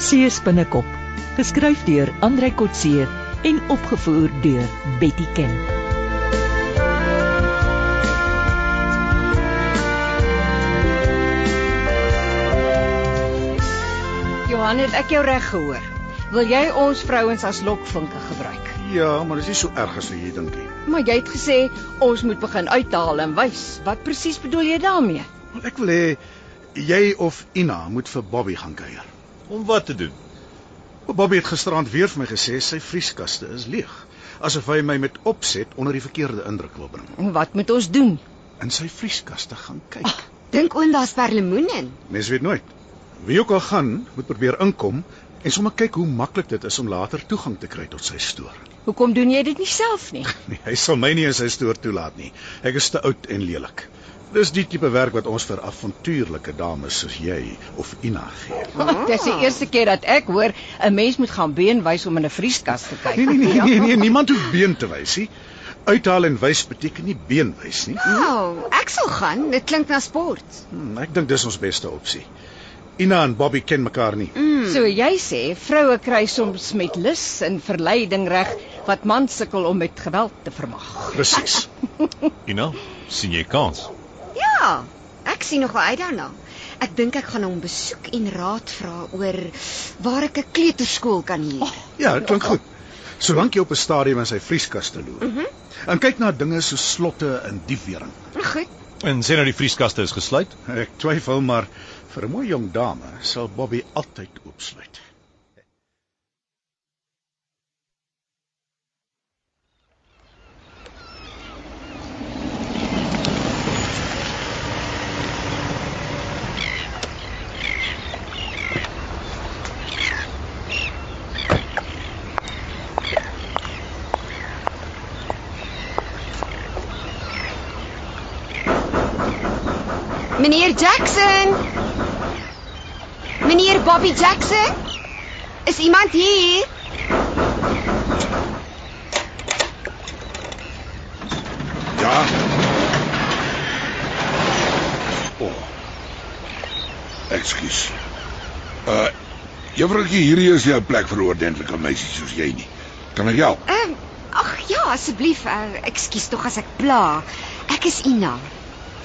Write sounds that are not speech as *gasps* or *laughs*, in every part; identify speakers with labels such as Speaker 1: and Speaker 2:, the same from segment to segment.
Speaker 1: Coetzee se binnekop, geskryf deur Andrei Coetzee en opgevoer deur Betty Ken.
Speaker 2: Johan, het ek jou reg gehoor? Wil jy ons vrouens as lokvinke gebruik?
Speaker 3: Ja, maar dit is nie so erg as wat jy dink nie.
Speaker 2: Maar jy het gesê ons moet begin uithaal en wys. Wat presies bedoel jy daarmee?
Speaker 3: Want ek wil hê jy of Ina moet vir Bobby gaan kuier.
Speaker 4: Om wat te doen?
Speaker 3: Maar Bobby het gisterand weer vir my gesê sy vrieskaste is leeg, asof hy my met opset onder die verkeerde indruk wil bring.
Speaker 2: En wat moet ons doen?
Speaker 3: In sy vrieskaste gaan kyk. Oh.
Speaker 5: Dink oom daar's perlemoen in.
Speaker 3: Mens weet nooit. Wie ook al gaan, moet probeer inkom en sommer kyk hoe maklik dit is om later toegang te kry tot sy stoor.
Speaker 2: Hoekom doen jy dit nie self nie?
Speaker 3: Nee, hy sal my nie in sy stoor toelaat nie. Ek is te oud en lelik. Dis die tipe werk wat ons vir avontuurlike dames soos jy of Ina gee.
Speaker 2: *laughs* Oh. Dis die eerste keer dat ek hoor 'n mens moet gaan been wys om in 'n vrieskas te kyk.
Speaker 3: Nee nee nee, nee, nee niemand hoef been te wys nie. Uithaal en wys beteken nie been wys nie.
Speaker 5: Nou, ek sal gaan. Dit klink na sport.
Speaker 3: Hmm, ek dink dis ons beste opsie. Ina en Bobby ken mekaar nie.
Speaker 2: So jy sê vroue kry soms met lus en verleiding reg wat mans sukkel om met geweld te vermag.
Speaker 3: Presies.
Speaker 4: Ina, sien jy kans?
Speaker 5: Ja, ek sien nog wel uit daarna. Ek dink ek gaan hom besoek en raad vra oor waar ek 'n kleuterskool kan huur.
Speaker 3: Ja, dit klink goed. Solank jy op 'n stadium in sy vrieskaste loer. Mm -hmm. En kyk na dinge so slotte en diepwering.
Speaker 5: Goed.
Speaker 4: En sê nou die vrieskaste is gesluit?
Speaker 3: Ek twyfel maar vir 'n mooi jong dame sal Bobby altyd oopsluit.
Speaker 5: Meneer Jackson. Meneer Bobby Jackson? Is iemand hier?
Speaker 3: Ja.
Speaker 6: Oh. Ekskuus. Uh Juffroukie, hierdie is nie 'n plek vir ordentlike meisies soos jy nie. Kan ek help?
Speaker 5: Ehm ag ja, asseblief. Uh, Ekskuus tog as ek pla. Ek is Ina.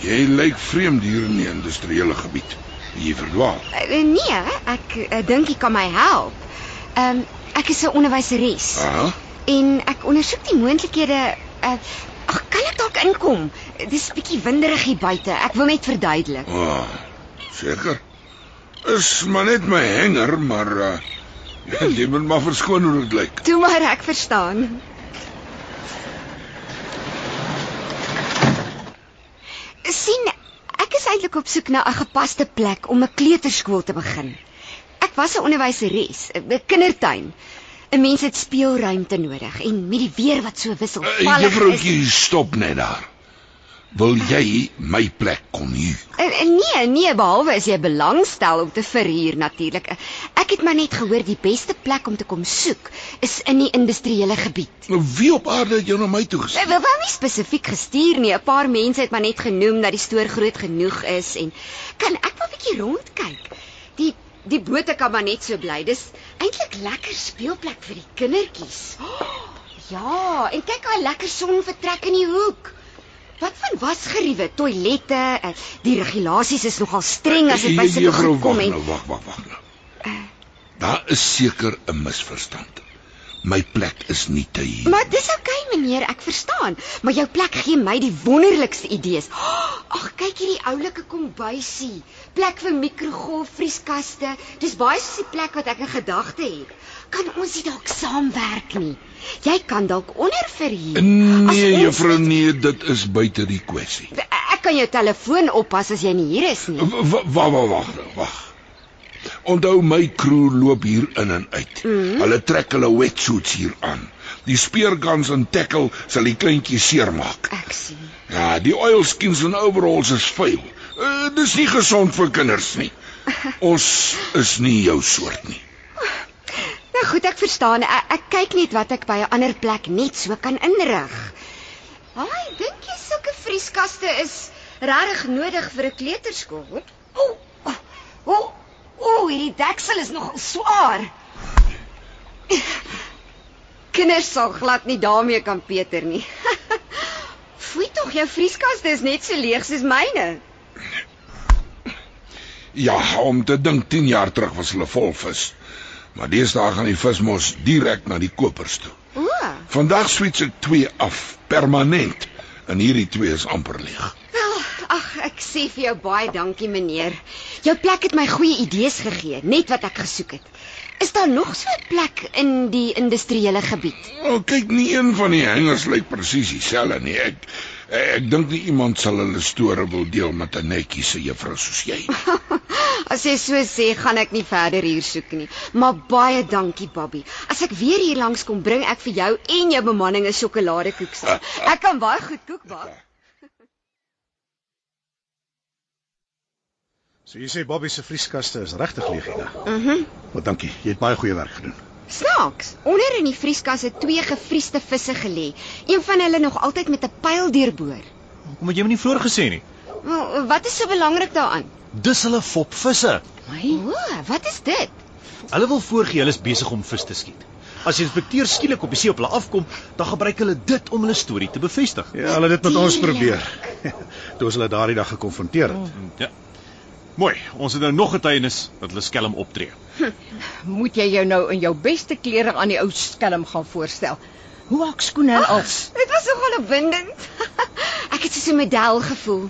Speaker 6: Jy lyk vreemd hier in die industriële gebied. Jy verdwaal.
Speaker 5: Uh, nee, ek uh, dink jy kan my help. Ehm um, ek is 'n onderwyseres
Speaker 6: Aha.
Speaker 5: en ek ondersoek die moontlikhede uh, ag kan ek dalk inkom? Dis 'n bietjie winderig hier buite. Ek wil net verduidelik.
Speaker 6: Ah. Seker. Is maar net my hanger, maar uh *laughs* jy moet maar verskoon hoe dit lyk.
Speaker 5: Toe maar ek verstaan. sien, ek is eintlik op soek na 'n gepaste plek om 'n kleuterskool te begin. Ek was 'n onderwyseres, 'n kindertuin. 'n Mens het speelruimte nodig en met die weer wat so
Speaker 6: Uh,
Speaker 5: wisselvallig is.
Speaker 6: Juffroukie, stop net daar. Wil jy my plek kon huur?
Speaker 5: Eh, eh, Nee, nee, behalwe as jy belangstel om te verhuur natuurlik. Eh, Ek het maar net gehoor die beste plek om te kom soek is in die industriële gebied.
Speaker 6: Nou, Wie op aarde het jou na my toe gestuur?
Speaker 5: Ek wil wel nie spesifiek gestuur nie. 'n Paar mense het maar net genoem dat die stoor groot genoeg is en kan ek wel 'n bietjie rondkyk. Die die bote kan maar net so bly. Dis eintlik lekker speelplek vir die kindertjies. *gasps* Oh, ja, en kyk daai lekker son vertrek in die hoek. Wat van wasgeriewe, toilette, eh, die regulasies is nogal streng as dit by sulke
Speaker 6: Juffrou,
Speaker 5: goed kom
Speaker 6: wag
Speaker 5: en
Speaker 6: nou, wag, wag, wag nou. Daar is seker 'n misverstand. My plek is nie te hier.
Speaker 5: Maar dis oukei okay, meneer, ek verstaan, maar jou plek gee my die wonderlikste idees. *gasps* Ag, kyk hierdie oulike kombuisie. Plek vir mikrogolf, vrieskaste. Dis baie soos die plek wat ek in gedagte het. Kan ons nie dalk saamwerk nie? Jy kan dalk onder vir hier.
Speaker 6: Nee,
Speaker 5: As ons-
Speaker 6: juffrou, nee, dit is buite die kwessie.
Speaker 5: Ek kan jou telefoon oppas as jy nie hier is nie.
Speaker 6: W- w- Wag, wag, wag, nou, wag. Onthou my crew loop hier in en uit. Hulle trek hulle wetsuits hier aan. Die speerguns en tackle sal die kleintjies seermaak.
Speaker 5: Ek sien.
Speaker 6: Ja, die oilskins en overalls is vuil. Uh, dis nie gesond vir kinders nie. Ons is nie jou soort nie.
Speaker 5: Nou goed, ek verstaan. Ek, ek kyk net wat ek by 'n ander plek net so kan inrig. Haai, dink jy sulke vrieskaste is regtig nodig vir 'n kleuterskool? O, o, o, o, Wow, hierdie deksel is nogal swaar. Kinders sal glad nie daarmee kan peter nie. *laughs* Foei tog, jou vrieskaste is net so leeg soos myne.
Speaker 6: Ja, om te dink 10 jaar terug was hulle vol vis. Maar deesdae gaan die vis mos direk na die kopers toe.
Speaker 5: O,
Speaker 6: Vandag switch ek 2 af permanent en hierdie 2 is amper leeg.
Speaker 5: wel, ag, ek sê vir jou baie dankie, meneer. Jou plek het my goeie idees gegee, net wat ek gesoek het. Is daar nog so 'n plek in die industriële gebied?
Speaker 6: O, Nou, kyk nie een van die hengers lyk presies dieselfde nie. Ek ek dink nie iemand sal hulle store wil deel met 'n netjie se juffrou soos *laughs* jy.
Speaker 5: As jy so sê, gaan ek nie verder hier soek nie. Maar baie dankie, Bobby. As ek weer hier langs kom, bring ek vir jou en jou bemanning 'n sjokoladekoeksak. Ek kan baie goed koek bak.
Speaker 3: So jy sê Bobby se vrieskaste is regtig leeg, Ina. Mhm. Maar dankie, jy het baie goeie werk gedoen.
Speaker 5: Snaaks, onder in die vrieskas het twee gevriesde visse gelê. Een van hulle nog altyd met 'n pyl deurboor.
Speaker 4: Hoekom het jy my nie vroeër gesê nie?
Speaker 5: Wel, wat is so belangrik daaraan?
Speaker 4: Dis hulle fopvisse.
Speaker 5: My, o, wat is dit?
Speaker 4: Hulle wil voorgee hulle is besig om vis te skiet. As die inspekteur skielik op die see op hulle afkom, dan gebruik hulle dit om hulle storie te bevestig.
Speaker 3: Ja, hulle het dit met ons probeer. *laughs* Toe ons hulle daardie dag gekonfronteer het.
Speaker 4: Ja. Mooi, ons het nou nog getuienis dat hulle skelm
Speaker 3: *laughs*
Speaker 4: optree.
Speaker 2: Moet jy jou nou in jou beste klere aan die ou skelm gaan voorstel? Hoe hak skoene en als.
Speaker 5: Dit was nogal opwindend. *laughs* ek het soos 'n model gevoel.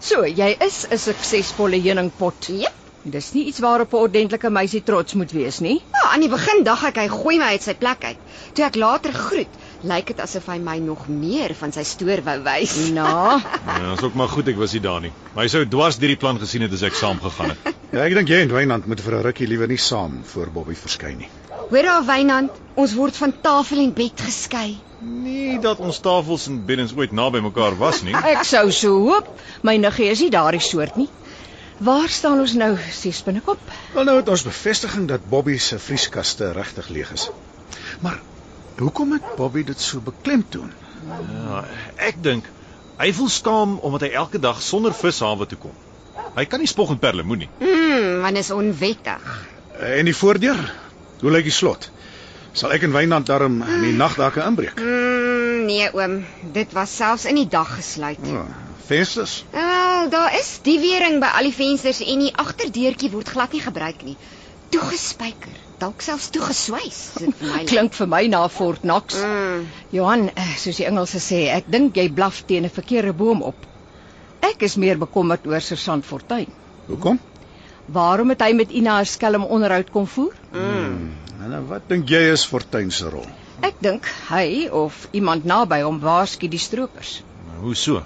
Speaker 2: So, jy is 'n suksesvolle heuningpot.
Speaker 5: Jep.
Speaker 2: Dis nie iets waarop 'n ordentlike meisie trots moet wees nie.
Speaker 5: Ja, aan die begin dag ek hy gooi my uit sy plek uit. Toe ek later groet, lyk dit asof hy my nog meer van sy stoor wou wys.
Speaker 2: Na,
Speaker 4: Ja, is ook maar goed ek was nie daar nie. Maar hy sou dwars deur die plan gesien het as ek saam gegaan het.
Speaker 3: *laughs* Ja, ek dink jy en Wynand moet vir 'n rukkie liewer nie saam voor Bobby verskyn nie.
Speaker 5: Hoor daar Wynand, ons word van tafel en bed geskei.
Speaker 4: Nie dat ons tafels en beddens ooit naby mekaar was nie.
Speaker 2: ek sou so hoop my niggie is nie daardie soort nie. Waar staan ons nou, sies binnekop?
Speaker 3: Wel nou het ons bevestiging dat Bobby se vrieskaste regtig leeg is. Maar hoekom het Bobby dit so beklemtoon?
Speaker 4: Ja, ek dink hy voel skaam omdat hy elke dag sonder vishawe toe kom. Hy kan nie spog en perlemoen nie.
Speaker 5: Mm, want is onwettig.
Speaker 3: Eh, En die voordeur? Hoe lyk die slot? Sal ek en Wynand darm in die nag daar kan inbreek?
Speaker 5: Mm, nee oom, dit was selfs in die dag gesluit.
Speaker 4: Ah.
Speaker 3: Ja, vensters?
Speaker 5: Wel, daar is die wering by al die vensters en die agterdeurtjie word glad nie gebruik nie. Toegespyker, dalk selfs toegeswys. Dit vir *laughs* my lyk.
Speaker 2: Klink vir my na Fort Knox.
Speaker 5: Mm.
Speaker 2: Johan, eh, soos die Engelse sê, ek dink jy blaf teen 'n verkeerde boom op. Ek is meer bekommerd oor Sergeant Fortuin.
Speaker 3: Hoekom?
Speaker 2: Waarom het hy met Ina 'n skelm onderhoud kom voer?
Speaker 3: En nou, wat dink jy is Fortuin se rol?
Speaker 2: Ek dink hy of iemand naby hom waarsku die stroopers.
Speaker 4: Hoe so?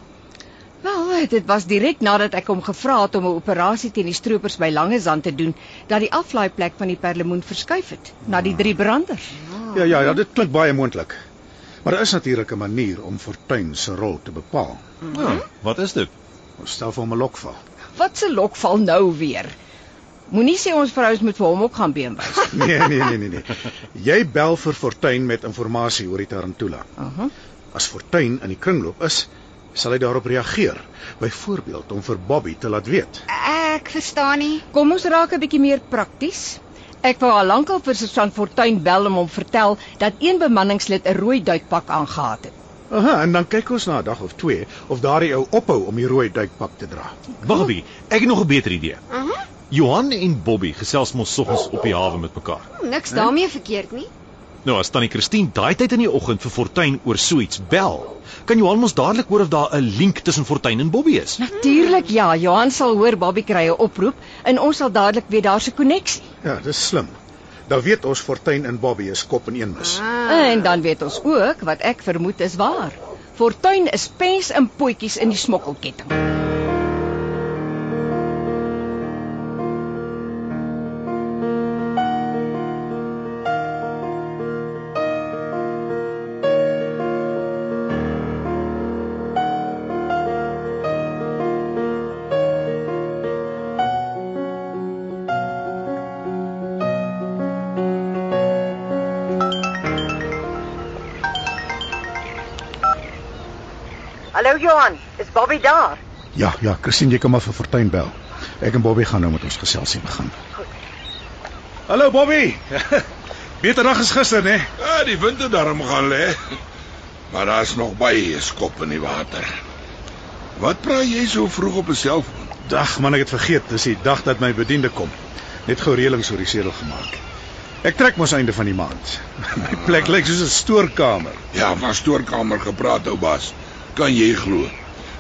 Speaker 2: Wel, dit was direk nadat ek hom gevra het om 'n operasie teen die stroopers by Langezand te doen, dat die aflaaiplek van die perlemoen verskuif het na die drie branders.
Speaker 3: Ja ja, ja, dit klink baie moontlik. Maar daar is natuurlik 'n manier om Fortuin se rol te bepaal.
Speaker 4: Ja, wat is dit?
Speaker 3: Ons stel vir hom 'n lokval.
Speaker 2: Wat se lok val nou weer? Moenie sê ons vrouens moet vir hom ook gaan beenwys.
Speaker 3: *laughs* Nee, nee, nee, nee, nee. Jy bel vir Fortuin met inligting oor die Tarantula.
Speaker 2: Aha.
Speaker 3: As Fortuin in die kringloop is, sal hy daarop reageer. Byvoorbeeld om vir Bobby te laat weet.
Speaker 5: Ek verstaan nie.
Speaker 2: Kom ons raak 'n bietjie meer prakties. Ek wou al lankal vir Susan Fortuin bel om hom vertel dat een bemanningslid 'n rooi duikpak aangetree het.
Speaker 3: Aha, en dan kyk ons na 'n dag of twee of daardie ou ophou om die rooi duikpak te dra.
Speaker 4: Wag 'n bietjie, ek het nog 'n beter idee. Johan en Bobby gesels mos soggens op die hawe met mekaar.
Speaker 5: Niks daarmee verkeerd nie.
Speaker 4: Nou as tannie Christine daai tyd in die oggend vir Fortuin oor so iets bel, kan Johan mos dadelik hoor of daar 'n link tussen Fortuin en Bobby is.
Speaker 2: Natuurlik ja, Johan sal hoor Bobby kry 'n oproep en ons sal dadelik weet daar's 'n koneksie.
Speaker 3: Ja, dis slim. Dan weet ons Fortuin en Bobby is kop in een mis.
Speaker 2: En dan weet ons ook wat ek vermoed is waar. Fortuin is pens in potjies in die smokkelketting. Hallo Johan, is Bobby daar?
Speaker 3: Ja, ja, Christine, jy kan maar vir Fortuin bel. Ek en Bobby gaan nou met ons geselsie begin. Hallo
Speaker 4: *laughs*
Speaker 3: Bobby. Beter dag as gister, né?
Speaker 6: Ja, die wind het daarom gaan lê. Maar daar's nog baie skop in die water. Wat praat jy so vroeg op 'n selfoon?
Speaker 3: Dag man, ek het vergeet. Dis die dag dat my bediende kom. Net gou reëlings oor die sedel gemaak. Ek trek mos einde van die maand. *laughs* My plek lyk soos 'n stoorkamer.
Speaker 6: Ja, van stoorkamer gepraat ou baas. Kan jy glo?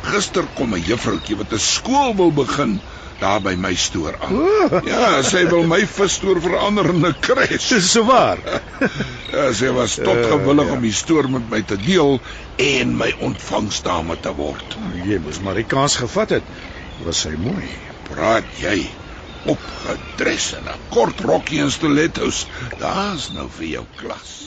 Speaker 6: Gister kom 'n juffroutjie wat 'n skool wil begin daar by my stoor aan. Ja, sy wil my visstoor verander in 'n kres.
Speaker 3: Dis Eh, so waar.
Speaker 6: Ja, sy was tot gewillig om
Speaker 3: ja.
Speaker 6: die stoor met my te deel en my ontvangsdame te word.
Speaker 3: Jy moes maar die kans gevat het. Was sy mooi.
Speaker 6: Praat jy opgedres in 'n kort rokkie en stilettos. Daar's nou vir jou klas.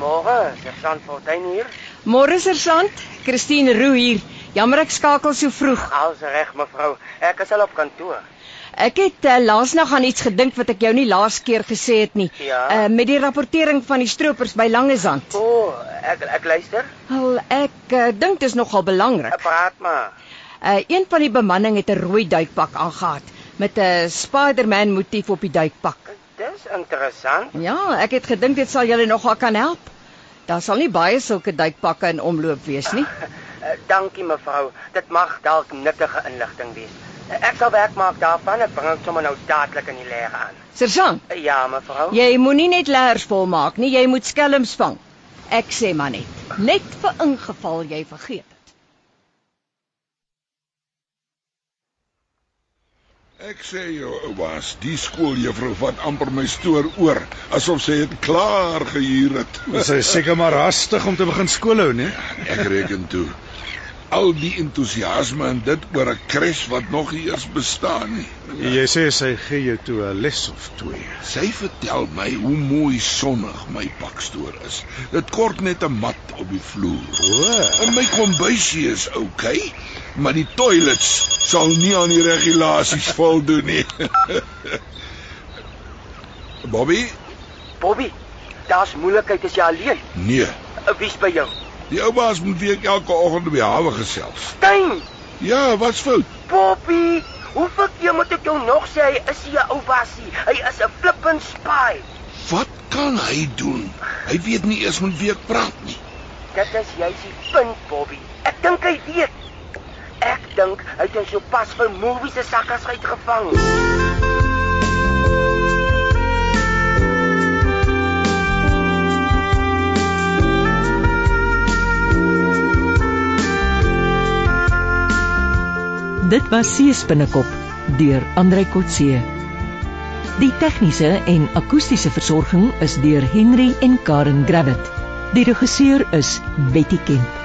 Speaker 7: Môre, sergeant Fortuin hier.
Speaker 2: Môre sergeant, Christine Roo hier. Jammer ek skakel so vroeg.
Speaker 7: Alles reg, mevrou. Ek is al op kantoor.
Speaker 2: Ek het uh, laasnag aan iets gedink wat ek jou nie laas keer gesê het nie.
Speaker 7: Ja.
Speaker 2: Uh, met die rapportering van die stroopers by Langezand.
Speaker 7: O, oh, ek ek luister.
Speaker 2: Wel, ek uh, dink dit is nogal belangrik.
Speaker 7: Ek praat maar.
Speaker 2: Uh, een van die bemanning het 'n rooi duikpak aangetree met 'n Spider-Man motief op die duikpak.
Speaker 7: Dis interessant.
Speaker 2: Ja, ek het gedink dit sal julle nogal kan help. Daar sal nie baie sulke duikpakke in omloop wees nie.
Speaker 7: Eh, Dankie mevrou. Dit mag dalk nuttige inligting wees. Ek sal werk maak daarvan. Ek bring dit sommer nou dadelik in die leer aan.
Speaker 2: Sergeant,
Speaker 7: Eh, Ja, mevrou.
Speaker 2: jy moenie net leers vol maak nie, jy moet skelms vang. Ek sê maar net, net vir ingeval jy vergeet het.
Speaker 6: Ek sê jou ou baas, die skooljuffrou vat amper my stoor oor asof sy dit klaar gehuur het.
Speaker 3: Was sy seker maar hastig om te begin skool hou, né?
Speaker 6: Ek reken toe. Al die entoesiasme en dit oor 'n kres wat nog nie eers bestaan nie.
Speaker 3: Jy sê sy gee jou toe 'n les of twee.
Speaker 6: Sy vertel my hoe mooi sonnig my pakstoor is. Dit kort net 'n mat op die vloer.
Speaker 3: O,
Speaker 6: En my kombuisie is oukei, okay, maar die toilets sal nie aan die regulasies *laughs* voldoen nie. Bobby?
Speaker 7: Bobby, daar's moeilikheid as jy alleen.
Speaker 6: Nee.
Speaker 7: Eh, Wie's by jou?
Speaker 6: Die ou baas moet weer elke oggend op die hawe gesels.
Speaker 7: Tuin.
Speaker 6: Ja, wat's fout?
Speaker 7: Bobby, hoe verkeer moet ek jou nog sê hy is hier 'n ou basie. Hy is 'n flippin spy.
Speaker 6: Wat kan hy doen? Hy weet nie eers met wie ek praat nie.
Speaker 7: Dit is juist die punt, Bobby. Ek dink hy weet. Ek dink hy het hom sopas vir movies se sakkas uitgevang.
Speaker 1: Dit was Sees binnekop deur Andrei Kotse. Die tegniese en akoestiese versorging is deur Henry en Karen Gravett. Die regisseur is Betty Kemp.